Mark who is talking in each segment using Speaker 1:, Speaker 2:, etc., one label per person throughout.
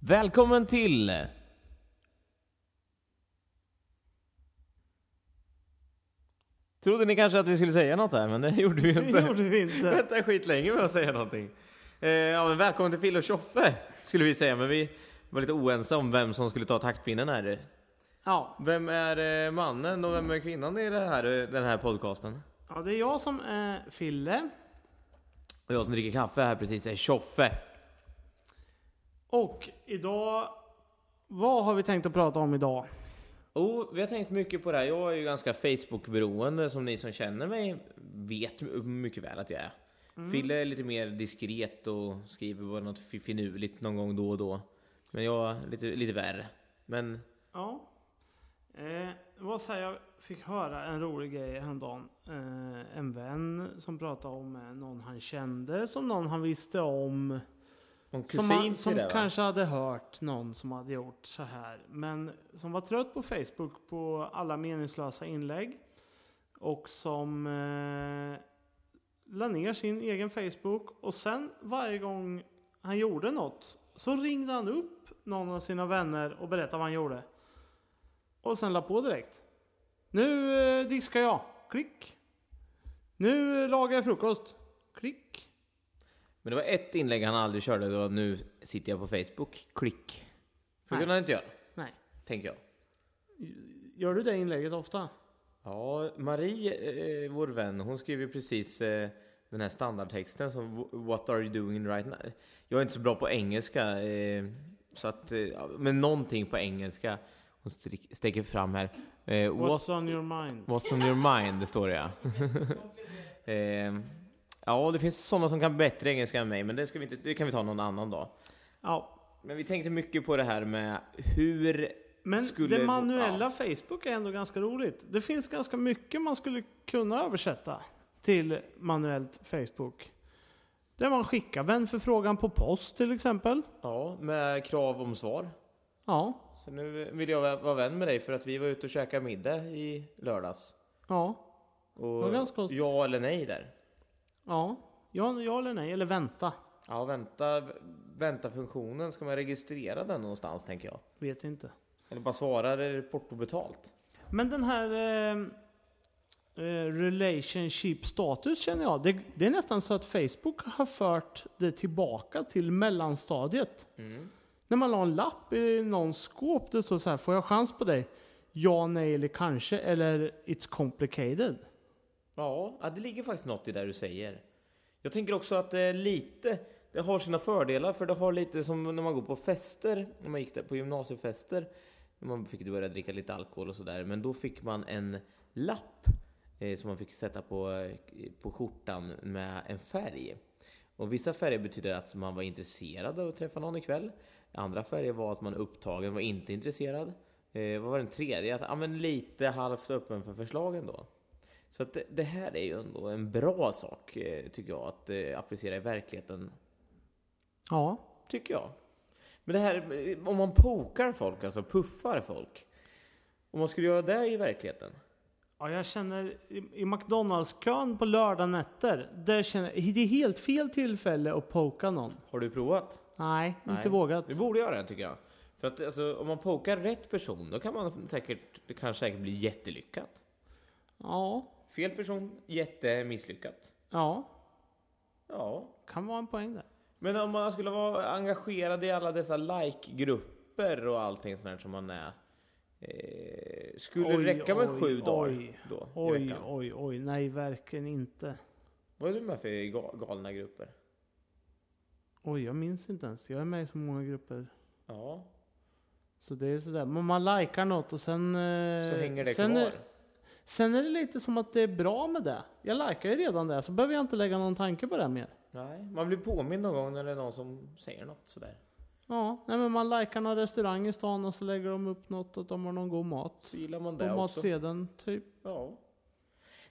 Speaker 1: Välkommen till... Trodde ni kanske att vi skulle säga något där, men det gjorde vi ju inte.
Speaker 2: Det gjorde vi inte.
Speaker 1: Vänta skitlänge med att säga någonting. Eh, ja, men välkommen till Fille och Tjoffe, skulle vi säga. Men vi var lite oense om vem som skulle ta taktpinnen här.
Speaker 2: Ja.
Speaker 1: Vem är eh, mannen och vem är kvinnan i det här, eh, den här podcasten?
Speaker 2: ja, det är jag som är Fille.
Speaker 1: Och jag som dricker kaffe här precis är Tjoffe.
Speaker 2: Och idag... Vad har vi tänkt att prata om idag?
Speaker 1: Oh, vi har tänkt mycket på det här. Jag är ju ganska Facebook-beroende som ni som känner mig vet mycket väl att jag är.
Speaker 2: Mm.
Speaker 1: Fille är lite mer diskret och skriver bara något fi- finurligt någon gång då och då. Men jag är lite, lite värre. Men
Speaker 2: Ja. Eh, vad säger jag? Fick höra en rolig grej häromdagen. Eh, en vän som pratade om eh, någon han kände, som någon han visste om.
Speaker 1: någon
Speaker 2: Som,
Speaker 1: kusin
Speaker 2: han,
Speaker 1: till
Speaker 2: som
Speaker 1: det va?
Speaker 2: kanske hade hört någon som hade gjort så här. Men som var trött på Facebook på alla meningslösa inlägg. Och som eh, la ner sin egen Facebook. Och sen varje gång han gjorde något så ringde han upp någon av sina vänner och berättade vad han gjorde. Och sen la på direkt. Nu eh, diskar jag. Klick. Nu eh, lagar jag frukost. Klick.
Speaker 1: Men det var ett inlägg han aldrig körde. Det var nu sitter jag på Facebook. Klick. För det
Speaker 2: Nej.
Speaker 1: kunde han inte göra,
Speaker 2: Nej.
Speaker 1: tänker jag.
Speaker 2: Gör du det inlägget ofta?
Speaker 1: Ja, Marie, eh, vår vän, hon skrev ju precis eh, den här standardtexten som What are you doing right now? Jag är inte så bra på engelska, eh, så att, eh, ja, men någonting på engelska. Hon strik- sticker fram här. Eh, what,
Speaker 2: What's on your mind?
Speaker 1: what's on your mind, det står det ja. eh, ja, det finns sådana som kan bättre engelska än mig, men det, ska vi inte, det kan vi ta någon annan dag.
Speaker 2: Ja,
Speaker 1: Men vi tänkte mycket på det här med hur...
Speaker 2: men
Speaker 1: Skulle-
Speaker 2: det manuella Facebook är ändå ganska roligt. Det finns ganska mycket man skulle kunna översätta till manuellt Facebook. Där man skickar vänförfrågan på post till exempel.
Speaker 1: Ja, med krav om svar.
Speaker 2: Ja,
Speaker 1: Så nu vill jag vä- vara vän med dig för att vi var ute och käkade middag i lördags.
Speaker 2: ja,
Speaker 1: Och
Speaker 2: Vad ganska konstigt.
Speaker 1: ja eller nej där.
Speaker 2: ja. Ja, ja eller nej, eller vänta.
Speaker 1: Ja, vänta, vänta funktionen. Ska man registrera den någonstans tänker jag?
Speaker 2: Vet inte.
Speaker 1: Eller bara svara, är det portobetalt?
Speaker 2: Men den här eh, eh, relationship status känner jag. Det, det är nästan så att Facebook har fört det tillbaka till mellanstadiet. När man la en lapp i någons skåp, det stod så här, får jag chans på dig? Ja, nej eller kanske, eller it's complicated.
Speaker 1: Ja, ja, det ligger faktiskt något i det du säger. Jag tänker också att det är lite, det har sina fördelar för det har lite som när man går på fester, när man gick där på gymnasiefester. när Man fick börja dricka lite alkohol och sådär, men då fick man en lapp eh, som man fick sätta på, eh, på skjortan med en färg. Och vissa färger betyder att man var intresserad av att träffa någon ikväll. Andra färger var att man upptagen var inte intresserad. Eh, vad var den tredje? Att, ja, men lite halvt öppen för förslagen då. Så att det, det här är ju ändå en bra sak, eh, tycker jag, att eh, applicera i verkligheten.
Speaker 2: Ja,
Speaker 1: Tycker jag. Men det här, eh, om man pokar folk, alltså puffar folk. Om man skulle göra det i verkligheten.
Speaker 2: Ja, jag känner i, i McDonalds-kön på lördag nätter, där känner, det är helt fel tillfälle att poka någon.
Speaker 1: Har du provat?
Speaker 2: Nej,
Speaker 1: Nej.
Speaker 2: inte vågat.
Speaker 1: Vi borde göra det, tycker jag. För att alltså, om man pokar rätt person, då kan man säkert, det kan säkert bli jättelyckat.
Speaker 2: Ja,
Speaker 1: Fel person, jättemisslyckat.
Speaker 2: ja,
Speaker 1: Ja,
Speaker 2: kan vara en poäng där.
Speaker 1: Men om man skulle vara engagerad i alla dessa like-grupper och allting sånt här som man är. Eh, skulle
Speaker 2: Oj,
Speaker 1: det räcka med
Speaker 2: oj,
Speaker 1: sju
Speaker 2: oj,
Speaker 1: dagar då i
Speaker 2: Oj,
Speaker 1: veckan?
Speaker 2: oj, oj. Nej, verkligen inte.
Speaker 1: Vad är du med för ga- galna grupper?
Speaker 2: Oj, jag minns inte ens. Jag är med i så många grupper.
Speaker 1: Ja,
Speaker 2: Så det är sådär. Men man likar något och sen... eh,
Speaker 1: så hänger det
Speaker 2: sen
Speaker 1: kvar.
Speaker 2: Är, sen är det lite som att det är bra med det. Jag likar ju redan det, så behöver jag inte lägga någon tanke på det mer.
Speaker 1: Nej, man blir påmind någon gång när det är någon som säger något sådär.
Speaker 2: Ja, nej men man likar någon restaurang i stan och så lägger de upp något och de har någon god mat.
Speaker 1: Så gillar man det
Speaker 2: På
Speaker 1: också.
Speaker 2: matsedeln, typ.
Speaker 1: Ja.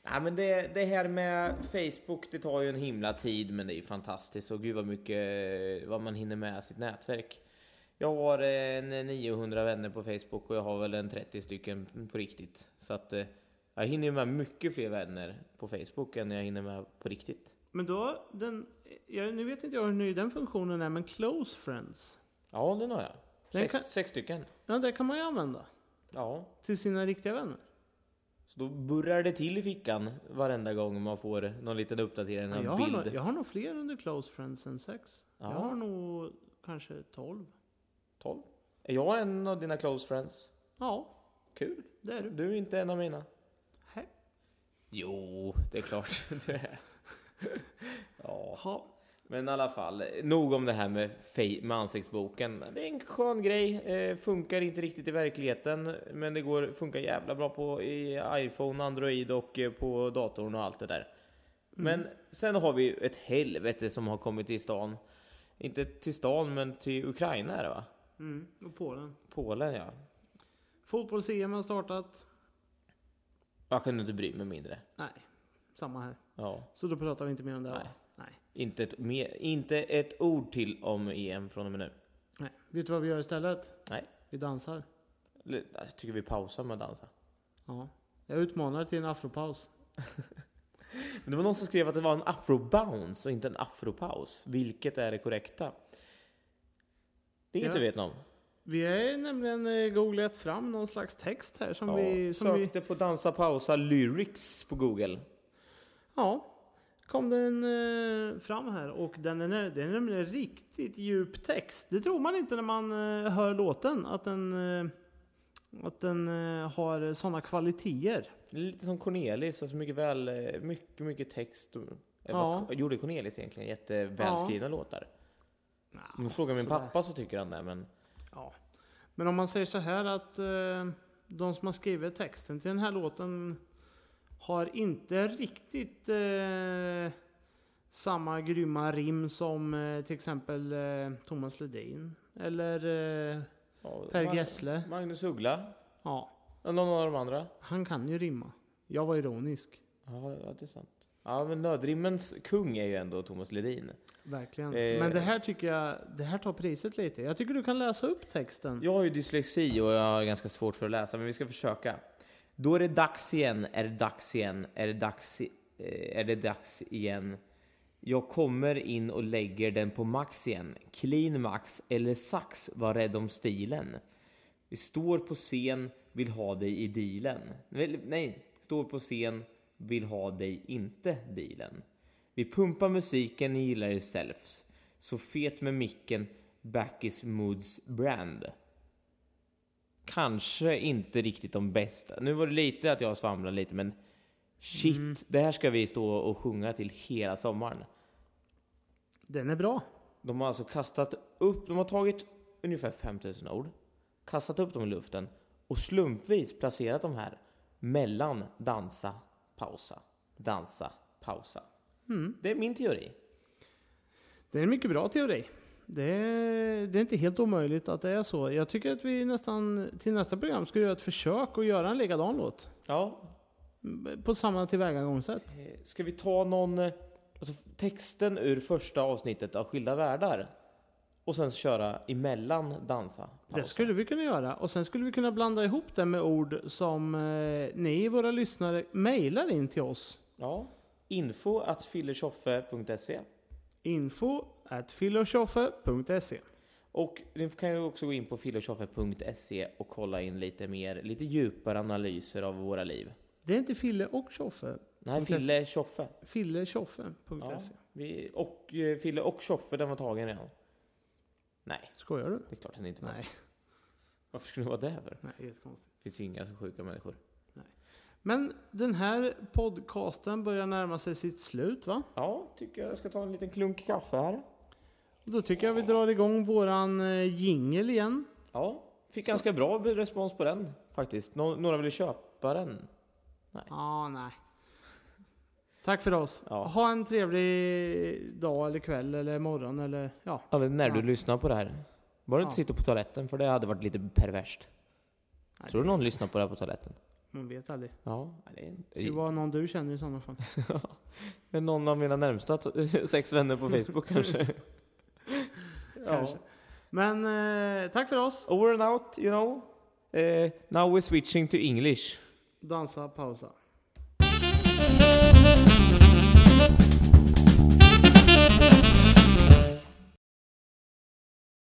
Speaker 1: Nej men det, det här med Facebook, det tar ju en himla tid men det är ju fantastiskt och gud vad mycket, vad man hinner med sitt nätverk. Jag har eh, en 900 vänner på Facebook och jag har väl en 30 stycken på riktigt. Så att eh, jag hinner ju med mycket fler vänner på Facebook än jag hinner med på riktigt.
Speaker 2: Men då, den... Jag, nu vet inte jag hur ny den funktionen är, men close friends.
Speaker 1: Ja, den har jag.
Speaker 2: Den
Speaker 1: Sex,
Speaker 2: kan-
Speaker 1: sex stycken.
Speaker 2: Ja, det kan man ju använda.
Speaker 1: Ja.
Speaker 2: Till sina riktiga vänner.
Speaker 1: Så då burrar det till i fickan varenda gång man får någon liten uppdatering, en
Speaker 2: jag, har
Speaker 1: bild.
Speaker 2: nog, jag har nog fler under close friends än sex.
Speaker 1: Ja.
Speaker 2: Jag har nog kanske 12.
Speaker 1: 12. Är jag en av dina close friends?
Speaker 2: Ja,
Speaker 1: Kul.
Speaker 2: det är du.
Speaker 1: Du är inte en av mina.
Speaker 2: Hej.
Speaker 1: Jo, det är klart du är. ja.
Speaker 2: Ha.
Speaker 1: Men i alla fall, nog om det här med, fej- med ansiktsboken. Det är en skön grej, eh, funkar inte riktigt i verkligheten, men det går, funkar jävla bra på i iPhone, Android och eh, på datorn och allt det där.
Speaker 2: Mm.
Speaker 1: Men sen har vi ju ett helvete som har kommit till stan. Inte till stan, men till Ukraina är det va?
Speaker 2: Mm, och Polen.
Speaker 1: Polen ja.
Speaker 2: Fotbolls-EM har startat.
Speaker 1: Jag kunde inte bry mig mindre.
Speaker 2: Nej, samma här.
Speaker 1: Ja.
Speaker 2: Så då pratar vi inte mer om det. va?
Speaker 1: Nej.
Speaker 2: Nej.
Speaker 1: Inte ett, mer, inte ett ord till om EM från och med nu.
Speaker 2: Nej. Vet du vad vi gör istället?
Speaker 1: Nej.
Speaker 2: Vi dansar.
Speaker 1: Eller, Jag tycker vi pausar med att dansa.
Speaker 2: Ja. Jag utmanar till en afropaus.
Speaker 1: Men det var någon som skrev att det var en afrobounce och inte en afropaus. Vilket är det korrekta? Det är inget
Speaker 2: Ja.
Speaker 1: du vet om?
Speaker 2: Vi har nämligen eh, googlat fram någon slags text här som
Speaker 1: Ja,
Speaker 2: vi... Som vi
Speaker 1: sökte på dansa pausa lyrics på google.
Speaker 2: ja. Kom den eh, fram här och den är, den är nämligen riktigt djup text. Det tror man inte när man eh, hör låten att den, eh, att den eh, har sådana kvaliteter.
Speaker 1: Lite som Cornelis, alltså mycket väl, eh, mycket, mycket text. och- Eller
Speaker 2: Ja.
Speaker 1: vad gjorde Cornelis egentligen? Jättevälskrivna låtar. Om du frågar min
Speaker 2: sådär.
Speaker 1: pappa så tycker han det, men
Speaker 2: Ja. Men om man säger så här att eh, de som har skrivit texten till den här låten har inte riktigt eh, samma grymma rim som eh, till exempel eh, Thomas Ledin eller eh,
Speaker 1: ja,
Speaker 2: Per
Speaker 1: Mag-
Speaker 2: Gessle.
Speaker 1: Magnus Uggla.
Speaker 2: Ja,
Speaker 1: Någon av de andra.
Speaker 2: han kan ju rimma. Jag var ironisk.
Speaker 1: Ja, ja, det är sant. Ja, men nödrimmens kung är ju ändå Thomas Ledin.
Speaker 2: Verkligen.
Speaker 1: Eh.
Speaker 2: Men det här tycker jag, det här tar priset lite. Jag tycker du kan läsa upp texten.
Speaker 1: Jag har ju dyslexi och jag har ganska svårt för att läsa, men vi ska försöka. Då är det dags igen, är det dags igen, är det dags, i- eh, är det dags igen. Jag kommer in och lägger den på max igen. Clean max eller sax, var rädd om stilen. Vi står på scen, vill ha dig i dealen. Väl, Nej, står på scen, vill ha dig inte dealen. Vi pumpar musiken, ni gillar yourselves. Så fet med micken, Backis Moods brand. Kanske inte riktigt de bästa. Nu var det lite att jag svamlade lite, men shit, det här ska vi stå och sjunga till hela sommaren.
Speaker 2: Den är bra.
Speaker 1: De har alltså kastat upp, de har tagit ungefär 5000 ord, kastat upp dem i luften och slumpvis placerat de här mellan dansa, pausa, dansa, pausa. Det är min teori.
Speaker 2: Det är en mycket bra teori. Det är, det är inte helt omöjligt att det är så. Jag tycker att vi nästan till nästa program ska göra ett försök och göra en likadan låt.
Speaker 1: Ja,
Speaker 2: Mm, På samma tillvägagångssätt.
Speaker 1: Eh, Ska vi ta någon, eh, alltså f- texten ur första avsnittet av Skilda Världar och sen köra emellan dansa? pausa?
Speaker 2: Det skulle vi kunna göra. Och sen skulle vi kunna blanda ihop det med ord som eh, ni, våra lyssnare, mejlar in till oss.
Speaker 1: Ja. Info att fillertjoffe.se
Speaker 2: Info at filleochoffe.se
Speaker 1: och ni kan ju också gå in på fillertjoffe.se och kolla in lite mer, lite djupare analyser av våra liv.
Speaker 2: Det är inte Fille och Tjoffe.
Speaker 1: Nej,
Speaker 2: Punkt
Speaker 1: Fille Tjoffe. Ja,
Speaker 2: Filletjoffe.se
Speaker 1: vi, och eh, Fille och Tjoffe, den var tagen redan. Nej,
Speaker 2: Skojar du?
Speaker 1: det är klart den inte var.
Speaker 2: Nej,
Speaker 1: Varför skulle det vara det för?
Speaker 2: nej, jättekonstigt.
Speaker 1: Det finns ju inga så sjuka människor.
Speaker 2: Men den här podcasten börjar närma sig sitt slut va?
Speaker 1: Ja, tycker jag ska ta en liten klunk kaffe här.
Speaker 2: Då tycker jag vi drar igång våran eh, jingel igen.
Speaker 1: Ja, fick ganska bra respons på den faktiskt. Nå- några ville köpa den.
Speaker 2: Ja, nej. Tack för oss.
Speaker 1: Ja.
Speaker 2: Ha en trevlig dag eller kväll eller morgon eller ja.
Speaker 1: Ja, men när du
Speaker 2: Ja.
Speaker 1: lyssnar på det här. Bara du inte
Speaker 2: Ja.
Speaker 1: sitter på toaletten, för det hade varit lite perverst.
Speaker 2: Nej,
Speaker 1: Tror du någon lyssnar på det här på toaletten?
Speaker 2: Man vet aldrig.
Speaker 1: Ja. Det
Speaker 2: Det
Speaker 1: är...
Speaker 2: var någon du känner i sådana fall.
Speaker 1: Det är någon av mina närmsta to- sex vänner på Facebook kanske.
Speaker 2: Kanske. Men eh, tack för oss.
Speaker 1: Over and out, you know. Eh, now we're switching to English.
Speaker 2: Dansa, pausa.